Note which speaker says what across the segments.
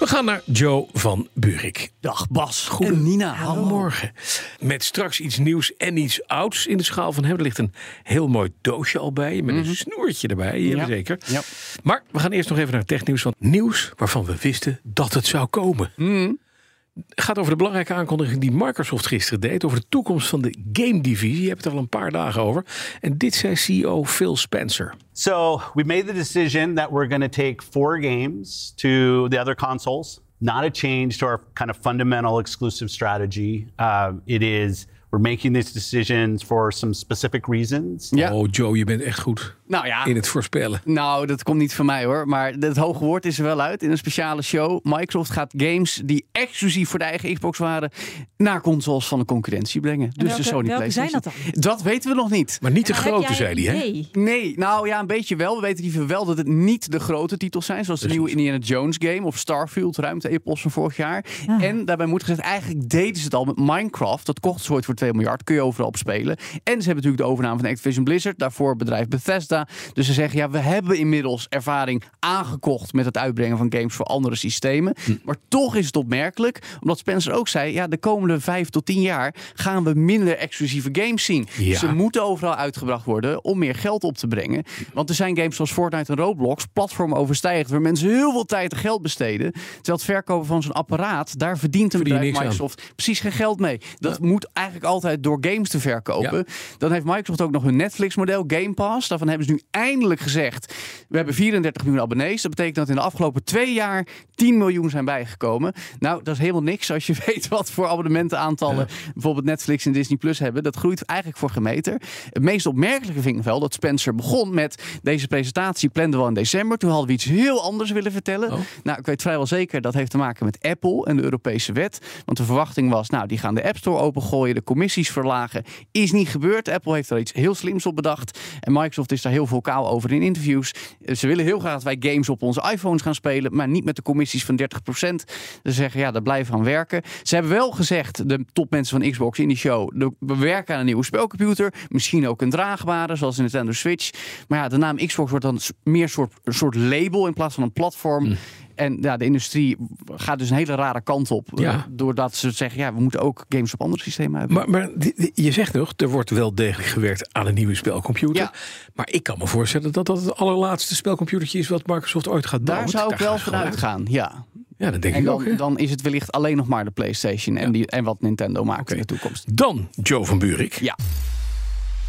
Speaker 1: We gaan naar Joe van Burik.
Speaker 2: Dag Bas.
Speaker 1: Goede
Speaker 2: En
Speaker 1: Nina, goedemorgen. Met straks iets nieuws en iets ouds in de schaal van hem. Er ligt een heel mooi doosje al bij, met een snoertje erbij, ja. zeker.
Speaker 2: Mhm. Ja.
Speaker 1: Maar we gaan eerst nog even naar technieuws. Want nieuws waarvan we wisten dat het zou komen.
Speaker 2: Mhm.
Speaker 1: gaat over de belangrijke aankondiging die Microsoft gisteren deed... over de toekomst van de game-divisie. Je hebt het er al een paar dagen over. En dit zei CEO Phil Spencer.
Speaker 3: So we made the decision that we're going to take four games to the other consoles. Not a change to our kind of fundamental exclusive strategy. Uh, it is we're making these decisions for some specific reasons.
Speaker 2: Ja.
Speaker 1: Oh, Joe, je bent echt goed
Speaker 2: Nou ja.
Speaker 1: in het voorspellen.
Speaker 2: Nou, dat komt niet van mij hoor. Maar het hoge woord is er wel uit. In een speciale show. Microsoft gaat games die exclusief voor de eigen Xbox waren. naar consoles van de concurrentie brengen. Dus
Speaker 4: welke-
Speaker 2: de Sony
Speaker 4: welke zijn
Speaker 2: PlayStation.
Speaker 4: dat dan?
Speaker 2: Dat weten we nog niet.
Speaker 1: Maar niet de
Speaker 4: Nou, Heb
Speaker 1: grote,
Speaker 4: jij
Speaker 1: zei hij,
Speaker 4: een
Speaker 1: hè?
Speaker 4: idee?
Speaker 2: Nee, nou ja, een beetje wel. We weten liever wel dat het niet de grote titels zijn. Zoals de nieuwe Indiana Jones game of Starfield, ruimte-epos van vorig jaar. En daarbij moet gezegd, eigenlijk deden ze het al met Minecraft. Dat kocht ze ooit voor 2 miljard. Kun je overal op spelen. En ze hebben natuurlijk de overname van Activision Blizzard. Daarvoor bedrijf Bethesda. Dus ze zeggen, ja, we hebben inmiddels ervaring aangekocht met het uitbrengen van games voor andere systemen. Maar toch is het opmerkelijk, omdat Spencer ook zei, ja, de komende 5 tot 10 jaar gaan we minder exclusieve games zien. Dus
Speaker 1: Ja.
Speaker 2: Ze moeten overal uitgebracht worden om meer geld op te brengen. Want er zijn games zoals Fortnite en Roblox, platformoverstijgend, waar mensen heel veel tijd en geld besteden. Terwijl het verkopen van zo'n apparaat, daar verdient een
Speaker 1: Verdien je
Speaker 2: bedrijf
Speaker 1: niks aan.
Speaker 2: Microsoft precies geen geld mee. Dat moet eigenlijk altijd door games te verkopen. Dan heeft Microsoft ook nog hun Netflix-model, Game Pass. Daarvan hebben ze nu eindelijk gezegd, we hebben 34 miljoen abonnees. Dat betekent dat in de afgelopen twee jaar 10 miljoen zijn bijgekomen. Nou, dat is helemaal niks als je weet wat voor abonnementenaantallen bijvoorbeeld Netflix en Disney Plus hebben. Dat groeit eigenlijk voor gemeter. Het meest opmerkelijke vind ik wel dat Spencer begon met deze presentatie planden we al in december. Toen hadden we iets heel anders willen vertellen.
Speaker 1: Oh.
Speaker 2: Nou, ik weet vrijwel zeker dat heeft te maken met Apple en de Europese wet. Want de verwachting was, nou, die gaan de App Store opengooien, de commissies verlagen. Is niet gebeurd. Apple heeft daar iets heel slims op bedacht. En Microsoft is daar heel vocaal over in interviews. Eh, Ze willen heel graag dat wij games op onze iPhones gaan spelen, maar niet met de commissies van 30%. Ze zeggen, ja, daar blijven we aan werken. Ze hebben wel gezegd, de topmensen van Xbox in die show, de- we werken aan een nieuwe spelcomputer. Misschien ook een draagbare, zoals de Nintendo Switch. Maar ja, de naam Xbox wordt dan s- meer een soort, een soort label in plaats van een platform. En ja, de industrie gaat dus een hele rare kant op.
Speaker 1: Ja.
Speaker 2: eh, Doordat ze zeggen, ja, we moeten ook games op andere systemen hebben.
Speaker 1: Maar, maar di- di- je zegt nog, er wordt wel degelijk gewerkt aan een nieuwe spelcomputer.
Speaker 2: Ja.
Speaker 1: Maar ik kan me voorstellen dat dat het allerlaatste spelcomputertje is wat Microsoft ooit gaat bouwen.
Speaker 2: Daar zou ik wel
Speaker 1: gaan ze gewoon
Speaker 2: vanuit gaan, ja.
Speaker 1: uit. Ja, dat denk
Speaker 2: En
Speaker 1: ik ook. hè.
Speaker 2: dan, dan is het wellicht alleen nog maar de PlayStation en, die, en wat Nintendo maakt
Speaker 1: Oké.
Speaker 2: in de toekomst.
Speaker 1: Dan Joe van Burik.
Speaker 2: Ja.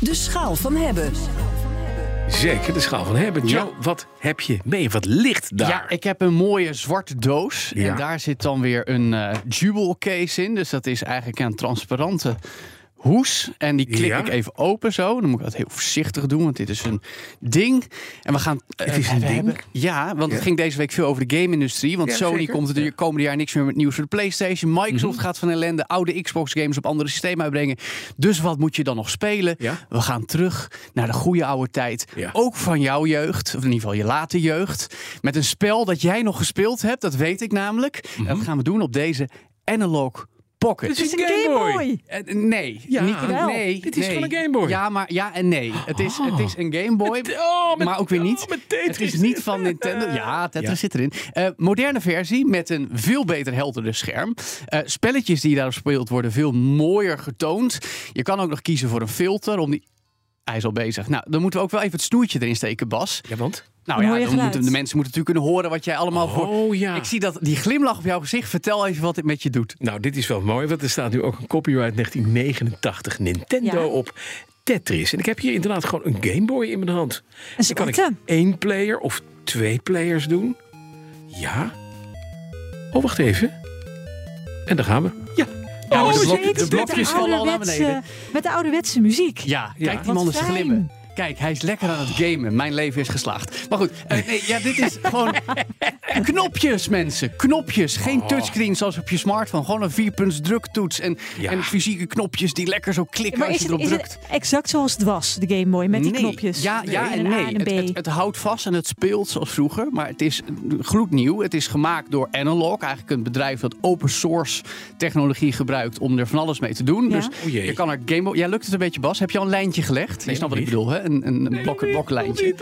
Speaker 4: De schaal van hebben.
Speaker 1: Zeker, de schaal van hebben. Joe, wat heb je mee? Wat ligt daar?
Speaker 2: Ja, ik heb een mooie zwarte doos.
Speaker 1: Ja.
Speaker 2: En daar zit dan weer een eh, jewel case in. Dus dat is eigenlijk een transparante hoes. En die klik
Speaker 1: Ja.
Speaker 2: ik even open zo. Dan moet ik dat heel voorzichtig doen, want dit is een ding. En we gaan...
Speaker 1: Het is
Speaker 2: eh,
Speaker 1: een
Speaker 2: we
Speaker 1: ding?
Speaker 2: ja, want het ging deze week veel over de game-industrie. Want
Speaker 1: Ja, Mhm.
Speaker 2: Sony
Speaker 1: zeker.
Speaker 2: komt er de komende jaar niks meer met nieuws voor de PlayStation. Microsoft gaat van ellende oude Xbox-games op andere systemen uitbrengen. Dus wat moet je dan nog spelen?
Speaker 1: Ja.
Speaker 2: We gaan terug naar de goede oude tijd.
Speaker 1: Ja.
Speaker 2: Ook van jouw jeugd, of in ieder geval je late jeugd. Met een spel dat jij nog gespeeld hebt, dat weet ik namelijk. En dat gaan we doen op deze Analog Pocket.
Speaker 1: Dit is
Speaker 4: Mhm. een Game Boy.
Speaker 2: Eh, nee,
Speaker 1: Ja.
Speaker 2: niet,
Speaker 1: Wel,
Speaker 2: nee.
Speaker 1: dit is
Speaker 2: nee.
Speaker 1: gewoon een Game Boy.
Speaker 2: Ja, maar ja en nee. Het is, het is een Game Boy,
Speaker 1: Met- oh, met-
Speaker 2: maar ook weer niet.
Speaker 1: oh, met Tetris.
Speaker 2: het is niet van Nintendo. Ja, Tetris
Speaker 1: Ja.
Speaker 2: zit erin. Eh, moderne versie met een veel beter helderder scherm. Eh, spelletjes die daarop speeld worden veel mooier getoond. Je kan ook nog kiezen voor een filter om die... Hij is al bezig. Nou, dan moeten we ook wel even het snoertje erin steken, Bas.
Speaker 1: Ja, want?
Speaker 2: Nou ja,
Speaker 4: Mooie
Speaker 2: dan moeten,
Speaker 4: geluid.
Speaker 2: de mensen moeten natuurlijk kunnen horen wat jij allemaal voor...
Speaker 1: Oh, ja.
Speaker 2: Ik zie dat, die glimlach op jouw gezicht. Vertel even wat dit met je doet.
Speaker 1: Nou, dit is wel mooi, want er staat nu ook een copyright 1989 Nintendo
Speaker 4: Ja.
Speaker 1: op Tetris. En ik heb hier inderdaad gewoon een Game Boy in mijn hand.
Speaker 4: Een
Speaker 1: Dan kan ik
Speaker 4: zwarte.
Speaker 1: één player of twee players doen. Ja. Oh, wacht even. En daar gaan we. Ja. Ja, maar
Speaker 4: Oh,
Speaker 1: de blok-
Speaker 4: zeker.
Speaker 2: de blokjes
Speaker 4: met de
Speaker 2: vallen al naar
Speaker 4: ouderwetse-
Speaker 2: beneden.
Speaker 4: Met de ouderwetse muziek.
Speaker 2: Ja, kijk
Speaker 1: Ja.
Speaker 2: die man
Speaker 4: Wat
Speaker 2: eens
Speaker 4: fijn.
Speaker 2: glimmen. Kijk, hij is lekker aan het gamen. Mijn leven is geslaagd. Maar goed, eh, nee, ja, dit is gewoon Knopjes, mensen. Knopjes.
Speaker 4: Oh.
Speaker 2: Geen touchscreen zoals op je smartphone. Gewoon een vierpunts druktoets en,
Speaker 1: Ja.
Speaker 2: en fysieke knopjes die lekker zo klikken
Speaker 4: Maar
Speaker 2: als
Speaker 4: is
Speaker 2: je
Speaker 4: het,
Speaker 2: erop
Speaker 4: is
Speaker 2: drukt.
Speaker 4: het exact zoals het was, de Game Boy, met die
Speaker 2: Nee.
Speaker 4: knopjes?
Speaker 2: Ja, ja
Speaker 4: Met
Speaker 2: en
Speaker 4: een A
Speaker 2: nee.
Speaker 4: en
Speaker 2: Het,
Speaker 4: een B.
Speaker 2: het, het houdt vast en het speelt zoals vroeger. Maar het is gloednieuw. Het is gemaakt door Analog. Eigenlijk een bedrijf dat open source technologie gebruikt om er van alles mee te doen.
Speaker 4: Ja.
Speaker 2: Dus
Speaker 1: O Oh jee.
Speaker 2: je kan er Game Boy... Ja, lukt het een beetje, Bas? Heb je al een lijntje gelegd? je snapt wat ik
Speaker 1: nog
Speaker 2: bedoel, hè? Een, een blok, bloklijntje.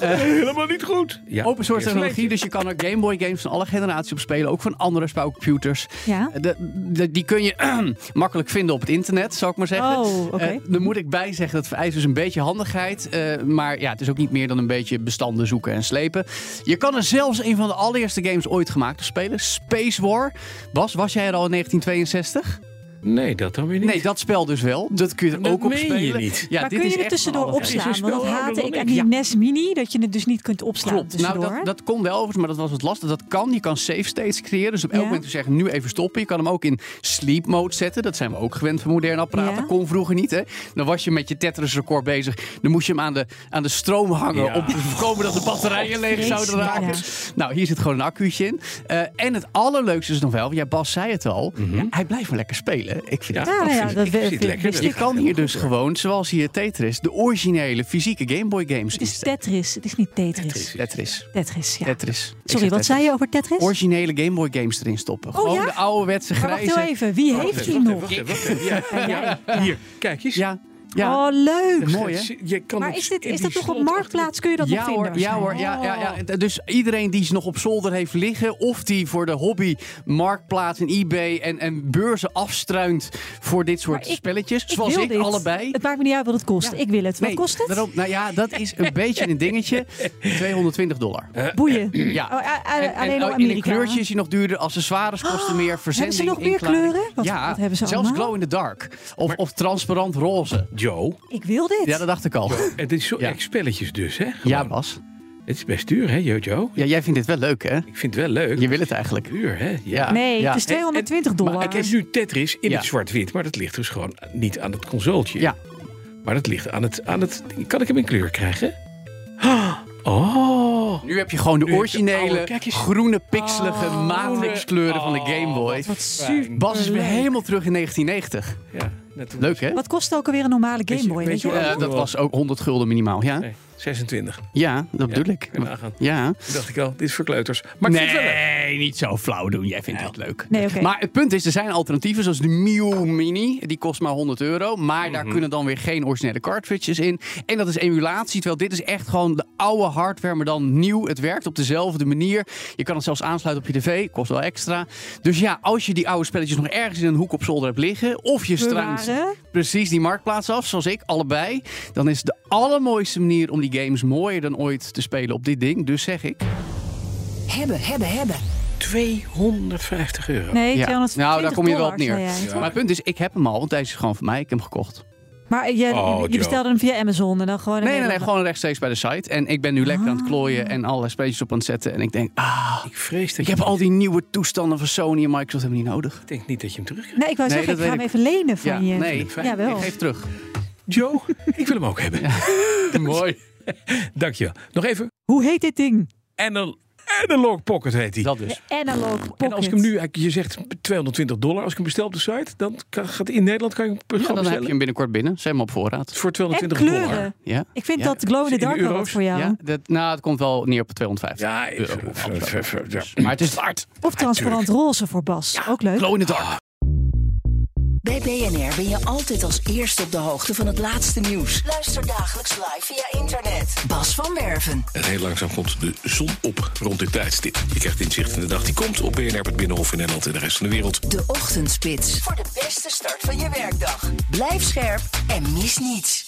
Speaker 2: Eh,
Speaker 1: Helemaal niet goed. Ja,
Speaker 2: Open source
Speaker 1: eerst
Speaker 2: technologie, dus je kan er Game Boy games van alle generaties op spelen. Ook van andere spelcomputers.
Speaker 4: Ja.
Speaker 2: De- de- die kun je makkelijk vinden op het internet, zou ik maar zeggen.
Speaker 4: Oh, oké.
Speaker 2: Eh, daar moet ik bij zeggen, dat vereist dus een beetje handigheid. eh, maar ja, het is ook niet meer dan een beetje bestanden zoeken en slepen. Je kan er zelfs een van de allereerste games ooit gemaakt op spelen. Space War. Bas, was jij er al in 1962?
Speaker 1: Nee, dat dan weer niet.
Speaker 2: Nee, dat spel dus wel. Dat kun je er
Speaker 1: Dat
Speaker 2: ook op
Speaker 1: meen je
Speaker 2: spelen.
Speaker 1: niet.
Speaker 2: Ja,
Speaker 4: maar
Speaker 2: dit
Speaker 4: kun
Speaker 2: is
Speaker 4: je
Speaker 2: echt
Speaker 4: het tussendoor
Speaker 2: van alles.
Speaker 1: Ja,
Speaker 4: opslaan?
Speaker 1: is een
Speaker 4: Want dat
Speaker 1: spel
Speaker 4: haatte
Speaker 1: ouder
Speaker 4: ik
Speaker 1: dan
Speaker 4: aan
Speaker 1: ik. Ja.
Speaker 4: die NES Mini, dat je het dus niet kunt opslaan
Speaker 2: Oh, Klopt. Nou,
Speaker 4: tussendoor.
Speaker 2: dat, dat kon wel overigens, maar dat was wat lastig. Dat kan. Je kan safe states creëren. Dus op elk
Speaker 4: Ja.
Speaker 2: moment te zeggen, nu even stoppen. Je kan hem ook in sleep mode zetten. Dat zijn we ook gewend van moderne apparaten.
Speaker 4: Ja.
Speaker 2: Dat kon vroeger niet, hè. Dan was je met je Tetris record bezig. Dan moest je hem aan de, aan de stroom hangen...
Speaker 1: Ja.
Speaker 2: om te voorkomen dat de batterijen leeg zouden
Speaker 4: vreselijk,
Speaker 2: raken.
Speaker 4: ja.
Speaker 2: Nou, hier zit gewoon een accuutje in. Eh, en het allerleukste is nog wel... Ja, Bas zei het al. ja, hij blijft maar lekker spelen. Ik vind het
Speaker 4: Ah, Ja, ja,
Speaker 1: vind
Speaker 4: dat
Speaker 1: ik-
Speaker 4: we-
Speaker 1: ik zit
Speaker 4: we-
Speaker 1: lekker.
Speaker 4: we-
Speaker 2: je kan hier dus gewoon, zoals hier Tetris, de originele fysieke Game Boy games
Speaker 4: Het is
Speaker 2: instellen.
Speaker 4: Tetris, het is niet Tetris. Tetris,
Speaker 2: Tetris.
Speaker 4: ja.
Speaker 2: Tetris. Ik zeg
Speaker 4: Sorry, wat
Speaker 2: Tetris.
Speaker 4: zei je over Tetris?
Speaker 2: originele Game Boy games erin stoppen. Gewoon
Speaker 4: Oh, ja?
Speaker 2: de ouderwetse
Speaker 4: maar wacht
Speaker 2: grijze.
Speaker 4: heel even, wie heeft die nog?
Speaker 1: Wacht even, wacht even. Ja,
Speaker 4: Ja, jij.
Speaker 1: ja. Hier, kijk eens.
Speaker 2: Ja, ja.
Speaker 4: Oh, leuk.
Speaker 2: mooi hè?
Speaker 1: Je kan
Speaker 4: Maar
Speaker 1: het
Speaker 4: is, dit,
Speaker 1: in
Speaker 4: is
Speaker 1: die
Speaker 4: dat toch op
Speaker 1: slot
Speaker 4: Marktplaats? Kun je dat nog Oh.
Speaker 2: Ja
Speaker 4: vinden?
Speaker 2: hoor, ja hoor, ja, ja, ja. D- Dus iedereen die ze nog op zolder heeft liggen... of die voor de hobby Marktplaats en eBay en, en beurzen afstruint... voor dit soort
Speaker 4: Maar ik-
Speaker 2: spelletjes, zoals
Speaker 4: wil
Speaker 2: ik,
Speaker 4: dit.
Speaker 2: allebei...
Speaker 4: Het maakt me niet uit wat het kost. Ik wil het. Wat
Speaker 2: Nee,
Speaker 4: kost het?
Speaker 2: daarom- nou ja, dat is een beetje een dingetje. 220 dollar.
Speaker 4: Boeien.
Speaker 2: Ja.
Speaker 4: Oh, a- a-
Speaker 2: En- en-
Speaker 4: Eh, alleen al
Speaker 2: oh, in een
Speaker 4: Amerika. Oh,
Speaker 2: kleurtje is hij nog duurder. Accessoires kosten meer. Verzending,
Speaker 4: nog meer
Speaker 2: inkleiding.
Speaker 4: kleuren? Wat-
Speaker 2: ja,
Speaker 4: wat hebben ze
Speaker 2: zelfs
Speaker 4: allemaal?
Speaker 2: glow in the dark. Of, of transparant roze.
Speaker 1: Joe,
Speaker 4: Ik wil dit.
Speaker 2: Ja, dat dacht ik al.
Speaker 1: het is zo
Speaker 2: Ja.
Speaker 1: echt spelletjes dus, hè?
Speaker 2: Ja,
Speaker 1: Gewoon.
Speaker 2: Bas.
Speaker 1: Het is best duur, hè, Jojo?
Speaker 2: Ja, jij vindt dit wel leuk, hè?
Speaker 1: Ik vind het wel leuk.
Speaker 2: Je wil het eigenlijk.
Speaker 1: Duur, hè? Ja.
Speaker 4: Nee,
Speaker 2: Ja.
Speaker 4: het is 220 dollar.
Speaker 1: Maar het is nu Tetris in
Speaker 2: Ja.
Speaker 1: het zwart-wit, maar dat ligt dus gewoon niet aan het consoletje.
Speaker 2: Ja.
Speaker 1: Maar dat ligt aan het, aan het... Kan ik hem in kleur krijgen? Oh.
Speaker 2: Nu heb je gewoon de
Speaker 1: Nu heb je oude- Ah, oh,
Speaker 2: originele
Speaker 1: kijk eens.
Speaker 2: groene, pixelige matrixkleuren van de Game Boy.
Speaker 4: Wat super.
Speaker 2: Bas is weer helemaal terug in 1990.
Speaker 1: Ja, net toen
Speaker 2: Leuk, hè?
Speaker 4: Wat kost ook alweer een normale Game
Speaker 1: Beetje-
Speaker 4: Boy?
Speaker 1: beetje
Speaker 4: Weet je?
Speaker 1: hoe oud-
Speaker 2: Eh, dat was ook 100 gulden minimaal, ja?
Speaker 1: Nee, 26.
Speaker 2: Ja, dat bedoel ik.
Speaker 1: kan je nagaan.
Speaker 2: Ja.
Speaker 1: Toen dacht ik al, dit is voor kleuters. Maar ik vind het wel leuk.
Speaker 2: Nee, niet zo flauw doen. Jij vindt dat leuk.
Speaker 4: Nee, oké.
Speaker 2: Maar het punt is, er zijn alternatieven zoals de Miu Mini. Die kost maar 100 euro. Maar daar
Speaker 1: Mhm.
Speaker 2: kunnen dan weer geen originele cartridges in. En dat is emulatie. Terwijl dit is echt gewoon de oude hardware, maar dan nieuw. Het werkt op dezelfde manier. Je kan het zelfs aansluiten op je tv. Kost wel extra. Dus ja, als je die oude spelletjes nog ergens in een hoek op zolder hebt liggen. Of je struint
Speaker 4: Bewaren.
Speaker 2: precies die marktplaats af, zoals ik, allebei. Dan is de allermooiste manier om die games mooier dan ooit te spelen op dit ding. Dus zeg ik...
Speaker 4: Hebben, hebben, hebben.
Speaker 1: 250 euro.
Speaker 4: Nee,
Speaker 2: Ja.
Speaker 4: 220
Speaker 2: nou, daar kom je wel op
Speaker 4: dollar,
Speaker 2: neer.
Speaker 4: zei jij.
Speaker 2: Maar het punt is, ik heb hem al, want deze is gewoon van mij. Ik heb hem gekocht.
Speaker 4: Maar je,
Speaker 1: Oh,
Speaker 4: je
Speaker 1: Joe.
Speaker 4: bestelde hem via Amazon en dan gewoon...
Speaker 2: Nee, nee, nee, gewoon rechtstreeks bij de site. En ik ben nu lekker aan
Speaker 4: Ah.
Speaker 2: het klooien en alle spelletjes op aan het zetten. En ik denk, ah,
Speaker 1: Ik vrees dat
Speaker 2: ik
Speaker 1: je...
Speaker 2: heb al die nieuwe toestanden van Sony en Microsoft helemaal niet nodig.
Speaker 1: Ik denk niet dat je hem terugkrijgt.
Speaker 4: Nee, ik wou
Speaker 2: Nee,
Speaker 4: zeggen, ik
Speaker 2: dat
Speaker 4: ga hem
Speaker 2: weet
Speaker 4: even lenen van
Speaker 2: Ja,
Speaker 4: je.
Speaker 2: nee.
Speaker 4: Jawel.
Speaker 2: Ik geef terug.
Speaker 1: Joe, ik wil hem ook hebben.
Speaker 2: Mooi.
Speaker 1: Dankjewel. Nog even.
Speaker 4: Hoe heet dit ding?
Speaker 1: Anal Analog Pocket heet hij.
Speaker 2: Dat dus.
Speaker 4: Analog Pocket.
Speaker 1: En als ik hem nu, eigenlijk- je zegt 220 dollar, als ik hem bestel op de site, dan kan- gaat in Nederland kan je hem
Speaker 2: Ja,
Speaker 1: gewoon
Speaker 2: dan heb
Speaker 1: bestellen.
Speaker 2: je hem binnenkort binnen. Zet hem op voorraad.
Speaker 1: Voor
Speaker 4: En
Speaker 1: 220 dollar.
Speaker 4: kleuren.
Speaker 2: Ja.
Speaker 4: Ik vind
Speaker 2: Ja.
Speaker 4: dat Glow in the
Speaker 1: In
Speaker 4: Dark wel wat
Speaker 1: euro's?
Speaker 4: voor jou.
Speaker 2: Ja, dat, nou, het komt wel neer op 250.
Speaker 1: Ja, ik-
Speaker 2: euro.
Speaker 1: ver- ver- ver- ver-
Speaker 2: Dus- Maar het is waard.
Speaker 4: Of transparant roze voor Bas. Ook leuk.
Speaker 2: Glow in the
Speaker 1: Ah.
Speaker 2: dark.
Speaker 5: Bij BNR ben je altijd als eerste op de hoogte van het laatste nieuws. Luister dagelijks live via internet. Bas van Werven.
Speaker 6: En heel langzaam komt de zon op rond dit tijdstip. Je krijgt inzicht in de dag die komt op BNR, het Binnenhof in Nederland en de rest van de wereld.
Speaker 5: De Ochtendspits. Voor de beste start van je werkdag. Blijf scherp en mis niets.